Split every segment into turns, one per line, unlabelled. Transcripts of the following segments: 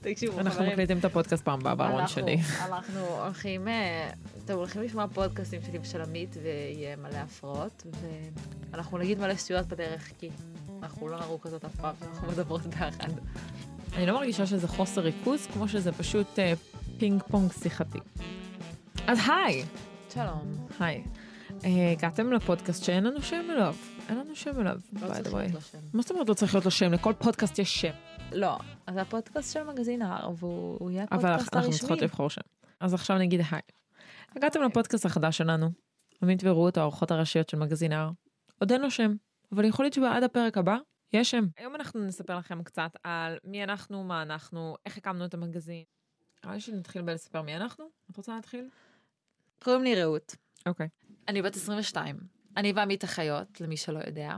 תקשיבו,
אנחנו
חברים,
מקליטים את הפודקאסט פעם הבאה בארון
אנחנו-
שלי.
אנחנו הולכים, אה, אתם הולכים לשמוע פודקאסטים שלי ושל עמית, ויהיה מלא הפרעות, ואנחנו נגיד מלא שטויות בדרך, כי אנחנו לא נרוקות אף פעם, אנחנו מדברות ביחד.
אני לא מרגישה שזה חוסר ריכוז, כמו שזה פשוט אה, פינג פונג שיחתי. אז היי!
שלום.
היי. אה, הגעתם לפודקאסט שאין לנו שם אליו. אין לנו שם אליו,
לא
by the
צריך
way.
להיות לו שם.
מה זאת אומרת לא צריך להיות לו שם? לכל פודקאסט יש שם.
לא, אז הפודקאסט של מגזין ההר, והוא הוא יהיה
אבל
הפודקאסט
אנחנו
הרשמי.
צריכות לבחור שם. אז עכשיו נגיד היי. הגעתם לפודקאסט החדש שלנו. עמית ורות האורחות הראשיות של מגזין הר. עוד אין לו שם, אבל יכול להיות שבעד הפרק הבא יש שם. היום אנחנו נספר לכם קצת על מי אנחנו, מה אנחנו, איך הקמנו את המגזין. נראה לי שנתחיל בלספר מי אנחנו. את רוצה להתחיל?
קוראים לי רעות.
אוקיי.
אני בת 22. אני ועמית אחיות, למי שלא יודע.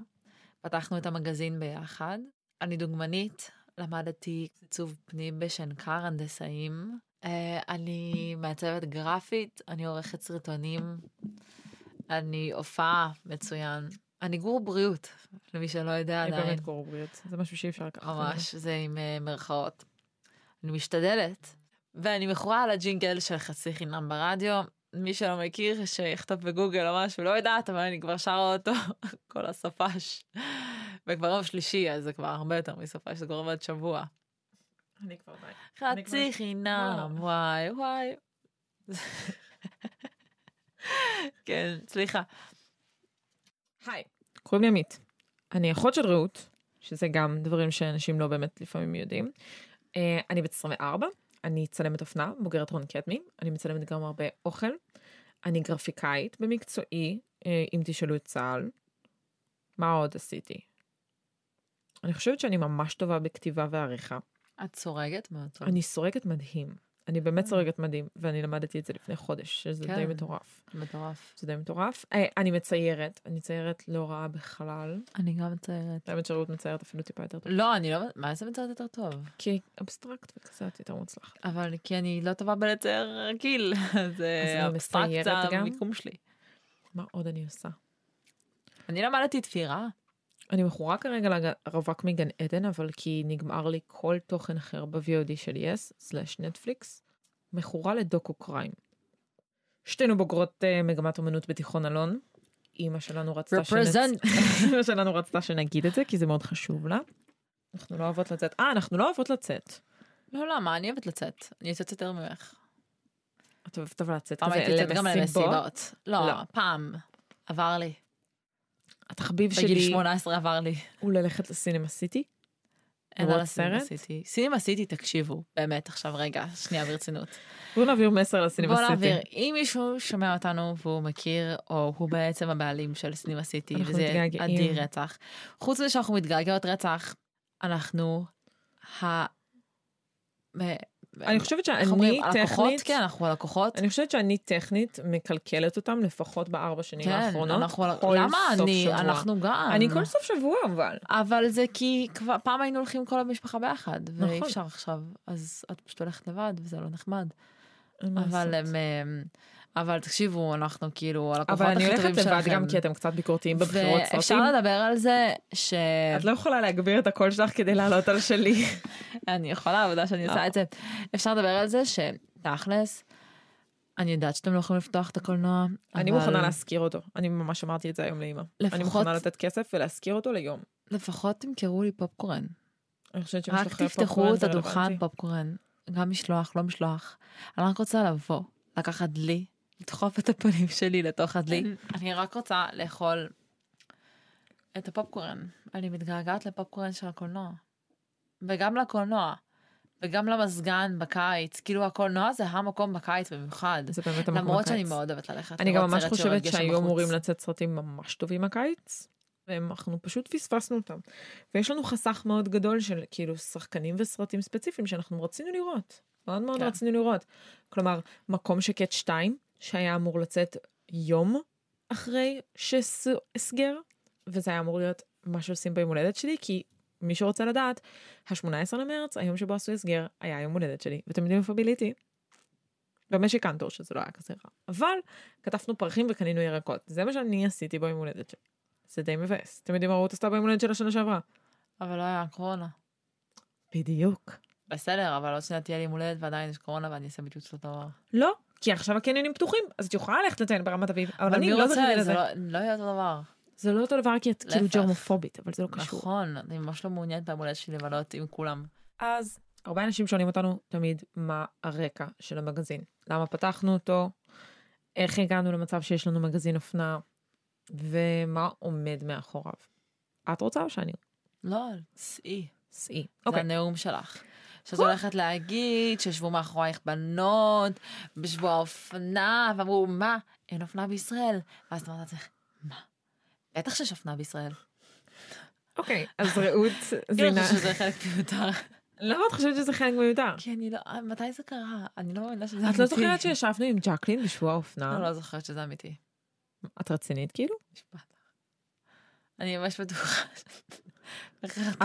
פתחנו את המגזין ביחד. אני דוגמנית, למדתי עיצוב פנים בשנקר, הנדסאים. אה, אני מעצבת גרפית, אני עורכת סרטונים. אני הופעה מצוין. אני גור בריאות, למי שלא יודע
אני
עדיין.
באמת גור בריאות. זה משהו שאי אפשר לקחת.
ממש, זה עם אה, מירכאות. אני משתדלת, ואני מכורה על הג'ינגל של חצי חינם ברדיו. מי שלא מכיר, שיכתוב בגוגל או משהו, לא יודעת, אבל אני כבר שרה אותו כל הסופש. וכבר יום שלישי, אז זה כבר הרבה יותר מסופש, זה כבר עובד שבוע.
אני כבר די. אני כבר-
חצי חינם, וואי וואי. כן, סליחה.
היי. קוראים לי עמית. אני אחות של רעות, שזה גם דברים שאנשים לא באמת לפעמים יודעים. אה, אני בת 24, אני צלמת אופנה, בוגרת רון קדמי, אני מצלמת גם הרבה אוכל. אני גרפיקאית במקצועי, אה, אם תשאלו את צה"ל. מה עוד עשיתי? אני חושבת שאני ממש טובה בכתיבה ועריכה.
את סורגת מאוד טוב.
אני סורגת מדהים. אני באמת סורגת מדהים, ואני למדתי את זה לפני חודש, שזה די
כן.
מטורף.
מטורף.
זה די מטורף. אה, אני מציירת, אני מציירת לא רעה בכלל.
אני גם מציירת.
האמת שרעות מציירת אפילו טיפה יותר טוב.
לא, אני לא... מה זה מציירת יותר טוב?
כי אבסטרקט וכזה את יותר מוצלח.
אבל כי אני לא טובה בלצייר רגיל, אז
אני
אה,
מציירת
האבסטרקציה
גם?
המיקום שלי.
מה עוד אני עושה?
אני למדתי תפירה.
אני מכורה כרגע לרווק מגן עדן, אבל כי נגמר לי כל תוכן אחר ב-VOD של יס/נטפליקס. מכורה לדוקו קריים. שתינו בוגרות אה, מגמת אומנות בתיכון אלון. אימא שלנו רצתה שנצ...
Represent.
אימא שלנו רצתה שנגיד את זה, כי זה מאוד חשוב לה. אנחנו לא אוהבות לצאת. אה, אנחנו לא אוהבות לצאת.
לא, לא, מה, אני אוהבת לצאת. אני יוצאת יותר ממך.
את אוהבת אבל לצאת
פעם
כזה
הייתי יוצאת גם
למסיבות.
למסיבות. לא,
לא.
פעם. עבר לי.
התחביב
בגיל
שלי
18 עבר לי.
הוא ללכת לסינמה סיטי.
אין
לראות
על הסינמה
סרט?
סיטי. סינמה סיטי, תקשיבו. באמת, עכשיו רגע, שנייה ברצינות.
בוא נעביר מסר לסינמה
בוא
סיטי.
נעביר. אם מישהו שומע אותנו והוא מכיר, או הוא בעצם הבעלים של סינמה סיטי,
אנחנו
וזה
מתגעגעים.
אדיר רצח. חוץ מזה שאנחנו מתגעגעות רצח, אנחנו ה... מ-
אני חושבת שאני
איך אומרים? הלקוחות,
טכנית,
כן, אנחנו הלקוחות.
אני חושבת שאני טכנית מקלקלת אותם לפחות בארבע שנים
כן,
האחרונות.
אנחנו,
כל
למה
סוף
אני,
שבוע.
אנחנו גם.
אני כל סוף שבוע אבל.
אבל זה כי כבר פעם היינו הולכים כל המשפחה ביחד, ואי
נכון.
אפשר עכשיו, אז את פשוט הולכת לבד וזה לא נחמד.
אין מה
אבל,
לעשות.
הם, הם- אבל תקשיבו, אנחנו כאילו הלקוחות
אבל אני
הכי
הולכת
טובים שלכם.
לבד גם כי אתם קצת ביקורתיים בבחירות
ואפשר
סרטים.
לדבר על זה ש...
את לא יכולה להגביר את הקול שלך כדי לעלות על שלי. לא.
אני יכולה, עבודה שאני עושה את זה. אפשר לדבר על זה שתכלס, אני יודעת שאתם לא יכולים לפתוח את הקולנוע,
אני
אבל
מוכנה להשכיר אותו. אני ממש אמרתי את זה היום לאמא. אני
לפחות-
מוכנה לתת כסף ולהשכיר אותו ליום.
לפחות תמכרו לי פופקורן.
אני חושבת
רק
שמשלוחי
תפתחו
הפופקורן
את
זה
הדוכן
רלוונטי.
פופקורן. גם משלוח, לא משלוח. אני רק רוצה לבוא, לקחת דלי, לדחוף את הפנים שלי לתוך הדלי. כן, אני רק רוצה לאכול את הפופקורן. אני מתגעגעת לפופקורן של הקולנוע. וגם לקולנוע. וגם למזגן בקיץ. כאילו הקולנוע זה המקום בקיץ במיוחד.
זה באמת המקום
למרות שאני
הקיץ.
מאוד אוהבת ללכת.
אני גם
לראות
ממש
סרט שיורד
חושבת
גשם
שהיו
בחוץ.
אמורים לצאת סרטים ממש טובים הקיץ, ואנחנו פשוט פספסנו אותם. ויש לנו חסך מאוד גדול של כאילו שחקנים וסרטים ספציפיים שאנחנו רצינו לראות. מאוד מאוד
כן.
רצינו לראות. כלומר, מקום שקט 2, שהיה אמור לצאת יום אחרי שהסגר, וזה היה אמור להיות מה שעושים ביום הולדת שלי, כי מי שרוצה לדעת, ה-18 למרץ, היום שבו עשו הסגר, היה יום הולדת שלי, ואתם יודעים איפה ביליתי? במשק קנטור, שזה לא היה כזה רע. אבל קטפנו פרחים וקנינו ירקות, זה מה שאני עשיתי ביום הולדת שלי. זה די מבאס. אתם יודעים מה רות עשתה ביום הולדת שלה שנה שעברה?
אבל לא היה קורונה.
בדיוק.
בסדר, אבל עוד שניה תהיה לי יום הולדת ועדיין יש קורונה ואני אעשה בדיוק אותו דבר.
לא, כי עכשיו הקניונים פתוחים, אז את יכולה ללכת לטייל ברמת אביב, אבל
אבל
אני
מי
לא
רוצה?
בגיל הזה.
זה לא- לא יהיה אותו דבר.
זה לא אותו דבר כי את כאילו
להפך.
ג'רמופובית, אבל זה לא קשור.
נכון, אני ממש לא מעוניינת ביום הולדת שלי לבלות עם כולם.
אז הרבה אנשים שואלים אותנו תמיד מה הרקע של המגזין. למה פתחנו אותו, איך הגענו למצב שיש לנו מגזין אופנה, ומה עומד מאחוריו. את רוצה או שאני?
לא, סעי.
סעי.
זה
אוקיי.
הנאום שלך. שאת
כל-
הולכת להגיד שישבו מאחורייך בנות בשבוע האופנה, ואמרו, מה, אין אופנה בישראל? ואז אמרת לעצמך, מה? בטח שיש אופנה בישראל.
אוקיי, אז רעות
כאילו, אני
זינה.
חושבת שזה חלק מיותר.
למה את חושבת שזה חלק מיותר?
כי אני לא, מתי זה קרה? אני לא מאמינה שזה
את לא זוכרת שישבנו עם ג'קלין בשבוע האופנה?
אני לא זוכרת שזה אמיתי.
את רצינית כאילו?
נשבעת לך. אני ממש בטוחה.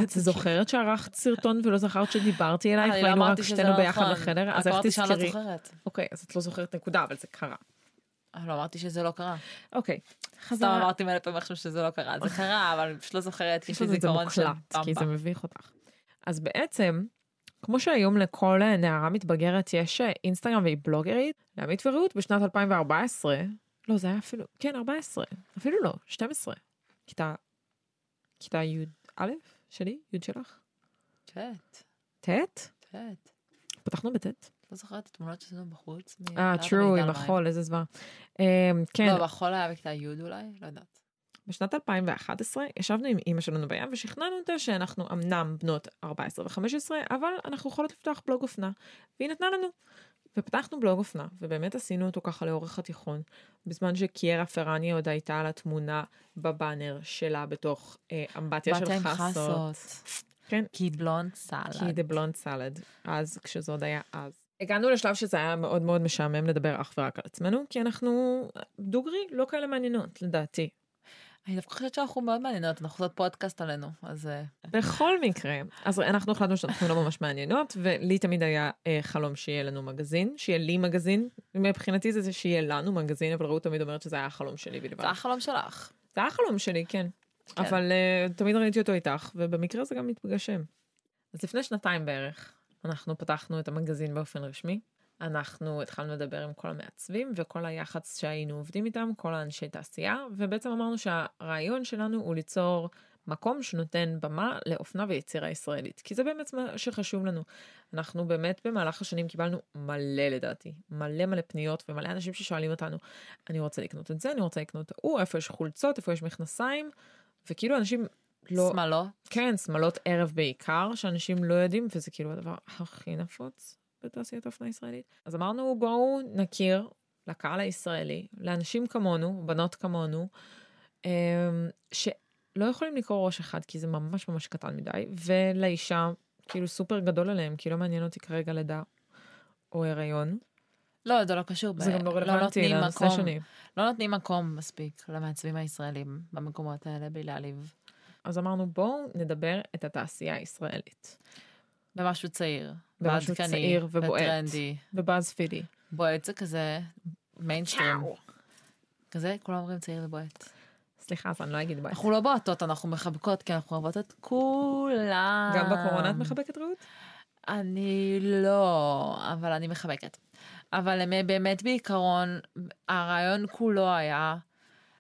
את זוכרת שערכת סרטון ולא זכרת שדיברתי אלייך
אני אוקיי. לא
והיינו רק
אמרתי שזה
שתינו
לא
ביחד
נכון.
בחדר?
רק
אז איך
אמרתי שאני לא
תזכרי?
זוכרת.
אוקיי, אז את לא זוכרת נקודה, אבל זה קרה.
אבל אמרתי שזה לא קרה.
אוקיי.
סתם
חזרה.
אמרתי מלא פעמים עכשיו שזה לא קרה. זה קרה, אבל אני פשוט לא זוכרת, כי יש
יש
לי
לזה את זה
זיכרון של
מוקלט, כי
במבה.
זה מביך אותך. אז בעצם, כמו שהיום לכל אה, נערה מתבגרת יש אה, אינסטגרם והיא בלוגרית, לעמית ורעות בשנת 2014, לא, זה היה אפילו, כן, 14, אפילו לא, 12. כיתה, כיתה י"א שלי, י' שלך,
טט,
ט',
טט.
פתחנו בט'.
לא זוכרת את התמונות שעשינו בחוץ. מ-
אה,
מגדל
true, עם
מים.
החול, איזה זוועה. אה, כן,
לא, בחול היה בכיתה י' אולי? לא יודעת.
בשנת 2011 ישבנו עם אימא שלנו בים ושכנענו אותה שאנחנו אמנם בנות 14 ו-15, אבל אנחנו יכולות לפתוח בלוג אופנה, והיא נתנה לנו. ופתחנו בלוג אופנה, ובאמת עשינו אותו ככה לאורך התיכון, בזמן שקיירה פרני עוד הייתה על התמונה בבאנר שלה בתוך אה, אמבטיה של
באתי עם
חסות. כן.
כי בלונד
כי היא
סלד.
דה בלונד סלד, אז כשזה עוד היה אז. הגענו לשלב שזה היה מאוד מאוד משעמם לדבר אך ורק על עצמנו, כי אנחנו דוגרי לא כאלה מעניינות, לדעתי.
אני דווקא חושבת שאנחנו מאוד מעניינות, אנחנו עושות פודקאסט עלינו, אז... אה,
בכל מקרה, אז אנחנו החלטנו שאנחנו לא ממש מעניינות, ולי תמיד היה אה, חלום שיהיה לנו מגזין, שיהיה לי מגזין. מבחינתי זה, זה שיהיה לנו מגזין, אבל רעות תמיד אומרת שזה היה החלום שלי בלבד.
זה החלום שלך.
זה היה החלום שלי, כן.
כן.
אבל אה, תמיד ראיתי אותו איתך, ובמקרה זה גם מתגשם. אז לפני שנתיים בערך, אנחנו פתחנו את המגזין באופן רשמי. אנחנו התחלנו לדבר עם כל המעצבים וכל היח"צ שהיינו עובדים איתם, כל האנשי תעשייה, ובעצם אמרנו שהרעיון שלנו הוא ליצור מקום שנותן במה לאופנה ויצירה ישראלית, כי זה באמת מה שחשוב לנו. אנחנו באמת במהלך השנים קיבלנו מלא לדעתי, מלא מלא פניות ומלא אנשים ששואלים אותנו, אני רוצה לקנות את זה, אני רוצה לקנות את ההוא, איפה יש חולצות, איפה יש מכנסיים, וכאילו אנשים לא...
שמאלות.
כן, שמלות ערב בעיקר, שאנשים לא יודעים, וזה כאילו הדבר הכי נפוץ בתעשיית האופנה הישראלית. אז אמרנו, בואו נכיר לקהל הישראלי, לאנשים כמונו, בנות כמונו, אמ, שלא יכולים לקרוא ראש אחד, כי זה ממש ממש קטן מדי, ולאישה, כאילו סופר גדול עליהם, כי לא מעניין אותי כרגע לידה או הריון.
לא, זה לא קשור.
זה
ב-
גם לא רלוונטי
נותנים
לנושא
מקום-
שני.
לא נותנים מקום מספיק למעצבים הישראלים במקומות האלה בלי להעליב.
אז אמרנו, בואו נדבר את התעשייה הישראלית.
במשהו צעיר.
במשהו
ועדכני,
צעיר ובועט.
וטרנדי.
בבאזפידי.
בועט זה כזה
כן.
מיינסטרים. כזה, כולם אומרים צעיר ובועט.
סליחה, אז אני לא אגיד ביי.
אנחנו לא בועטות, אנחנו מחבקות, כי אנחנו אוהבות את כולם.
גם בקורונה את
אה.
מחבקת רעות?
אני לא, אבל אני מחבקת. אבל הם באמת בעיקרון, הרעיון כולו היה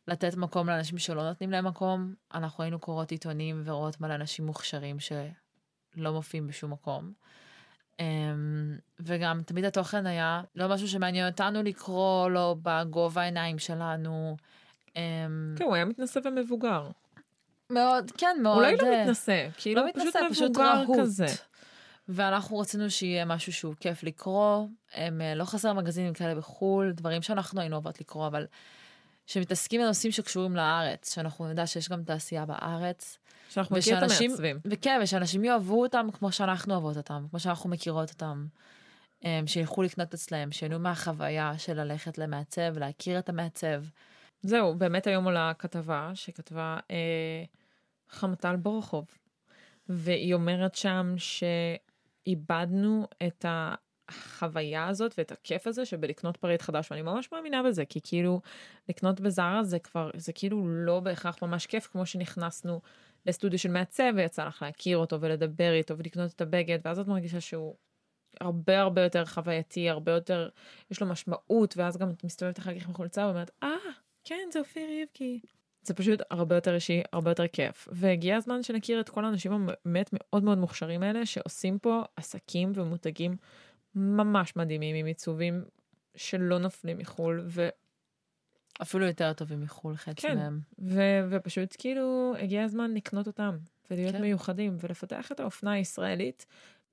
לתת מקום לאנשים שלא נותנים להם מקום. אנחנו היינו קוראות עיתונים ורואות מלא אנשים מוכשרים שלא מופיעים בשום מקום. אמ, וגם תמיד התוכן היה לא משהו שמעניין אותנו לקרוא לו בגובה העיניים שלנו. אמ,
כן, הוא היה מתנשא ומבוגר.
מאוד, כן, מאוד.
אולי
אה,
לא מתנשא, כאילו
לא
הוא פשוט
מתנשא, פשוט
מבוגר
רהוט.
כזה.
ואנחנו רצינו שיהיה משהו שהוא כיף לקרוא. הם אה, לא חסר מגזינים כאלה בחו"ל, דברים שאנחנו היינו אוהבות לקרוא, אבל שמתעסקים בנושאים שקשורים לארץ, שאנחנו נדע שיש גם תעשייה בארץ.
שאנחנו מכירים את
ושאנשים-
המעצבים.
וכן, ושאנשים יאהבו אותם כמו שאנחנו אוהבות אותם, כמו שאנחנו מכירות אותם. אה, שילכו לקנות אצלהם, שיהנו מהחוויה של ללכת למעצב, להכיר את המעצב.
זהו, באמת היום עולה כתבה שכתבה אה, חמטל בורחוב, והיא אומרת שם שאיבדנו את החוויה הזאת ואת הכיף הזה שבלקנות פריט חדש, ואני ממש מאמינה בזה, כי כאילו לקנות בזארה זה כבר, זה כאילו לא בהכרח ממש כיף כמו שנכנסנו לסטודיו של מעצב ויצא לך להכיר אותו ולדבר איתו ולקנות את הבגד ואז את מרגישה שהוא הרבה הרבה יותר חווייתי הרבה יותר יש לו משמעות ואז גם את מסתובבת אחר כך בחולצה ואומרת אה כן זה אופיר איבקי. זה פשוט הרבה יותר אישי הרבה יותר כיף והגיע הזמן שנכיר את כל האנשים הבאמת מאוד מאוד מוכשרים האלה שעושים פה עסקים ומותגים ממש מדהימים עם עיצובים שלא נופלים מחו"ל ו...
אפילו יותר טובים מחו"ל, חצי
כן.
מהם.
ו- ופשוט כאילו הגיע הזמן לקנות אותם ולהיות
כן.
כן. מיוחדים ולפתח את האופנה הישראלית.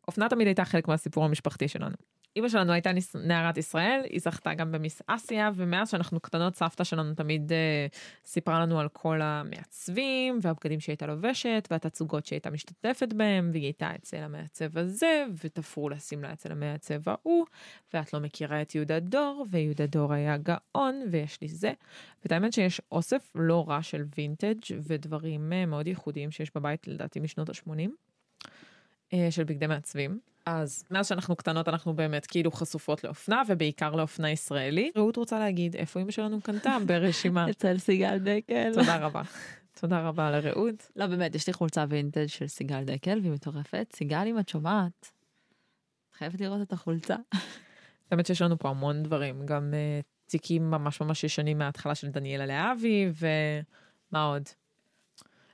אופנה תמיד הייתה חלק מהסיפור המשפחתי שלנו. אימא שלנו הייתה ניס- נערת ישראל, היא זכתה גם במיס אסיה, ומאז שאנחנו קטנות סבתא שלנו תמיד אה, סיפרה לנו על כל המעצבים, והבגדים שהיא הייתה לובשת, והתצוגות שהיא הייתה משתתפת בהם, והיא הייתה אצל המעצב הזה, ותפרו לה שמלה אצל המעצב ההוא, ואת לא מכירה את יהודה דור, ויהודה דור היה גאון, ויש לי זה, ואת האמת שיש אוסף לא רע של וינטג' ודברים אה, מאוד ייחודיים שיש בבית לדעתי משנות ה-80 של בגדי מעצבים. אז מאז שאנחנו קטנות אנחנו באמת כאילו חשופות לאופנה ובעיקר לאופנה ישראלית. רעות רוצה להגיד איפה אמא שלנו קנתה ברשימה.
אצל סיגל דקל.
תודה רבה. תודה רבה לרעות.
לא, באמת, יש לי חולצה וינטג' של סיגל דקל, והיא מטורפת. סיגל, אם את שומעת, את חייבת לראות את החולצה.
האמת שיש לנו פה המון דברים, גם אה, תיקים ממש ממש ישנים מההתחלה של דניאלה להבי, ומה עוד?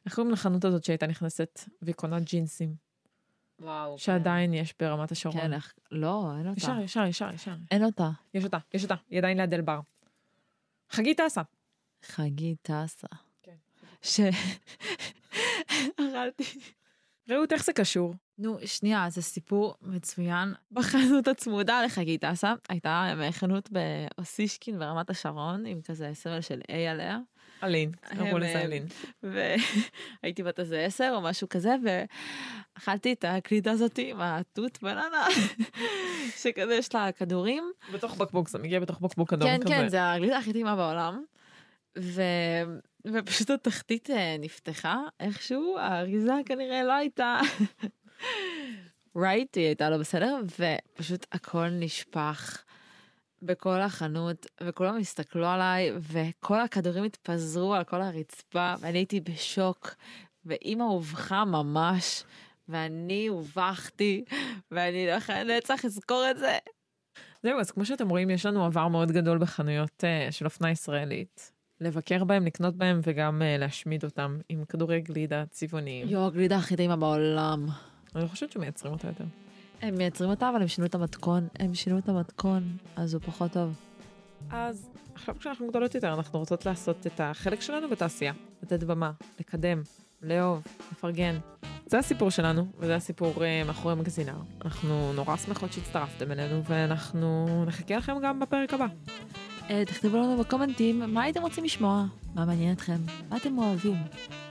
איך קוראים לחנות הזאת שהייתה נכנסת והיא קונה ג'ינסים, כן.
וואו.
שעדיין יש ברמת השרון.
אוקיי. כן, איך... לא, אין אותה.
ישר, ישר, ישר, ישר.
אין אותה.
יש אותה, יש אותה, היא עדיין ליד אלבר. חגית טסה.
חגית טסה.
כן.
ש... אכלתי.
רעות, איך זה קשור?
נו, שנייה, זה סיפור מצוין. בחנות הצמודה לחגית טסה, הייתה חנות באוסישקין ברמת השרון, עם כזה סמל של A עליה.
אלין,
קראו לזה אלין. והייתי בת איזה עשר או משהו כזה, ואכלתי את הקלידה הזאתי עם התות בננה, שכזה יש לה כדורים.
בתוך בקבוק, זה מגיע בתוך בקבוק אדום
כן,
כזה.
כן, זה הגלידה הכי טעימה בעולם. ו... ופשוט התחתית אה, נפתחה איכשהו, האריזה כנראה לא הייתה... רייט, היא הייתה לא בסדר, ופשוט הכל נשפך בכל החנות, וכולם הסתכלו עליי, וכל הכדורים התפזרו על כל הרצפה, ואני הייתי בשוק, ואימא הובכה ממש, ואני הובכתי, ואני לא יכולה לנצח לזכור את זה.
זהו, אז כמו שאתם רואים, יש לנו עבר מאוד גדול בחנויות אה, של אופנה ישראלית. לבקר בהם, לקנות בהם וגם אה, להשמיד אותם עם כדורי גלידה צבעוניים.
יו, הגלידה הכי טעימה בעולם.
אני לא חושבת שמייצרים אותה יותר.
הם מייצרים אותה, אבל הם שינו את המתכון. הם שינו את המתכון, אז הוא פחות טוב.
אז עכשיו כשאנחנו גדולות יותר, אנחנו רוצות לעשות את החלק שלנו בתעשייה. לתת במה, לקדם, לאהוב, לפרגן. זה הסיפור שלנו, וזה הסיפור אה, מאחורי מגזינר. אנחנו נורא שמחות שהצטרפתם אלינו, ואנחנו נחכה לכם גם בפרק הבא.
אה, תכתבו לנו בקומנטים מה הייתם רוצים לשמוע, מה מעניין אתכם, מה אתם אוהבים,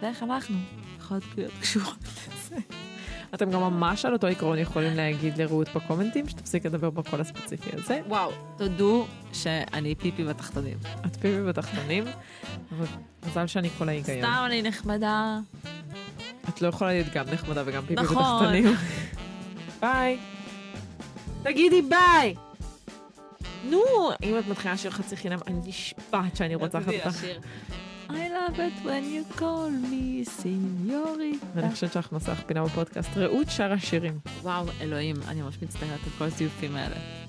ואיך אנחנו יכולות להיות קשורות לזה.
אתם גם ממש על אותו עיקרון יכולים להגיד לרעות בקומנטים, שתפסיק לדבר בקול הספציפי הזה.
וואו, תודו שאני פיפי בתחתונים.
את פיבי בתחתונים, אבל מזל שאני כל ההיגיון.
סתם אני נחמדה.
את לא יכולה להיות גם נחמדה וגם פיבי
נכון.
בתחתונים. ביי.
תגידי ביי!
נו, אם את מתחילה לשיר חצי חינם, אני נשבעת שאני רוצחת אותך.
I love it when you call me
ואני
סיניורית.
חושבת שאנחנו נעשה לך פינה בפודקאסט. רעות שרה שירים.
וואו, אלוהים, אני ממש מצטערת על כל הזיופים האלה.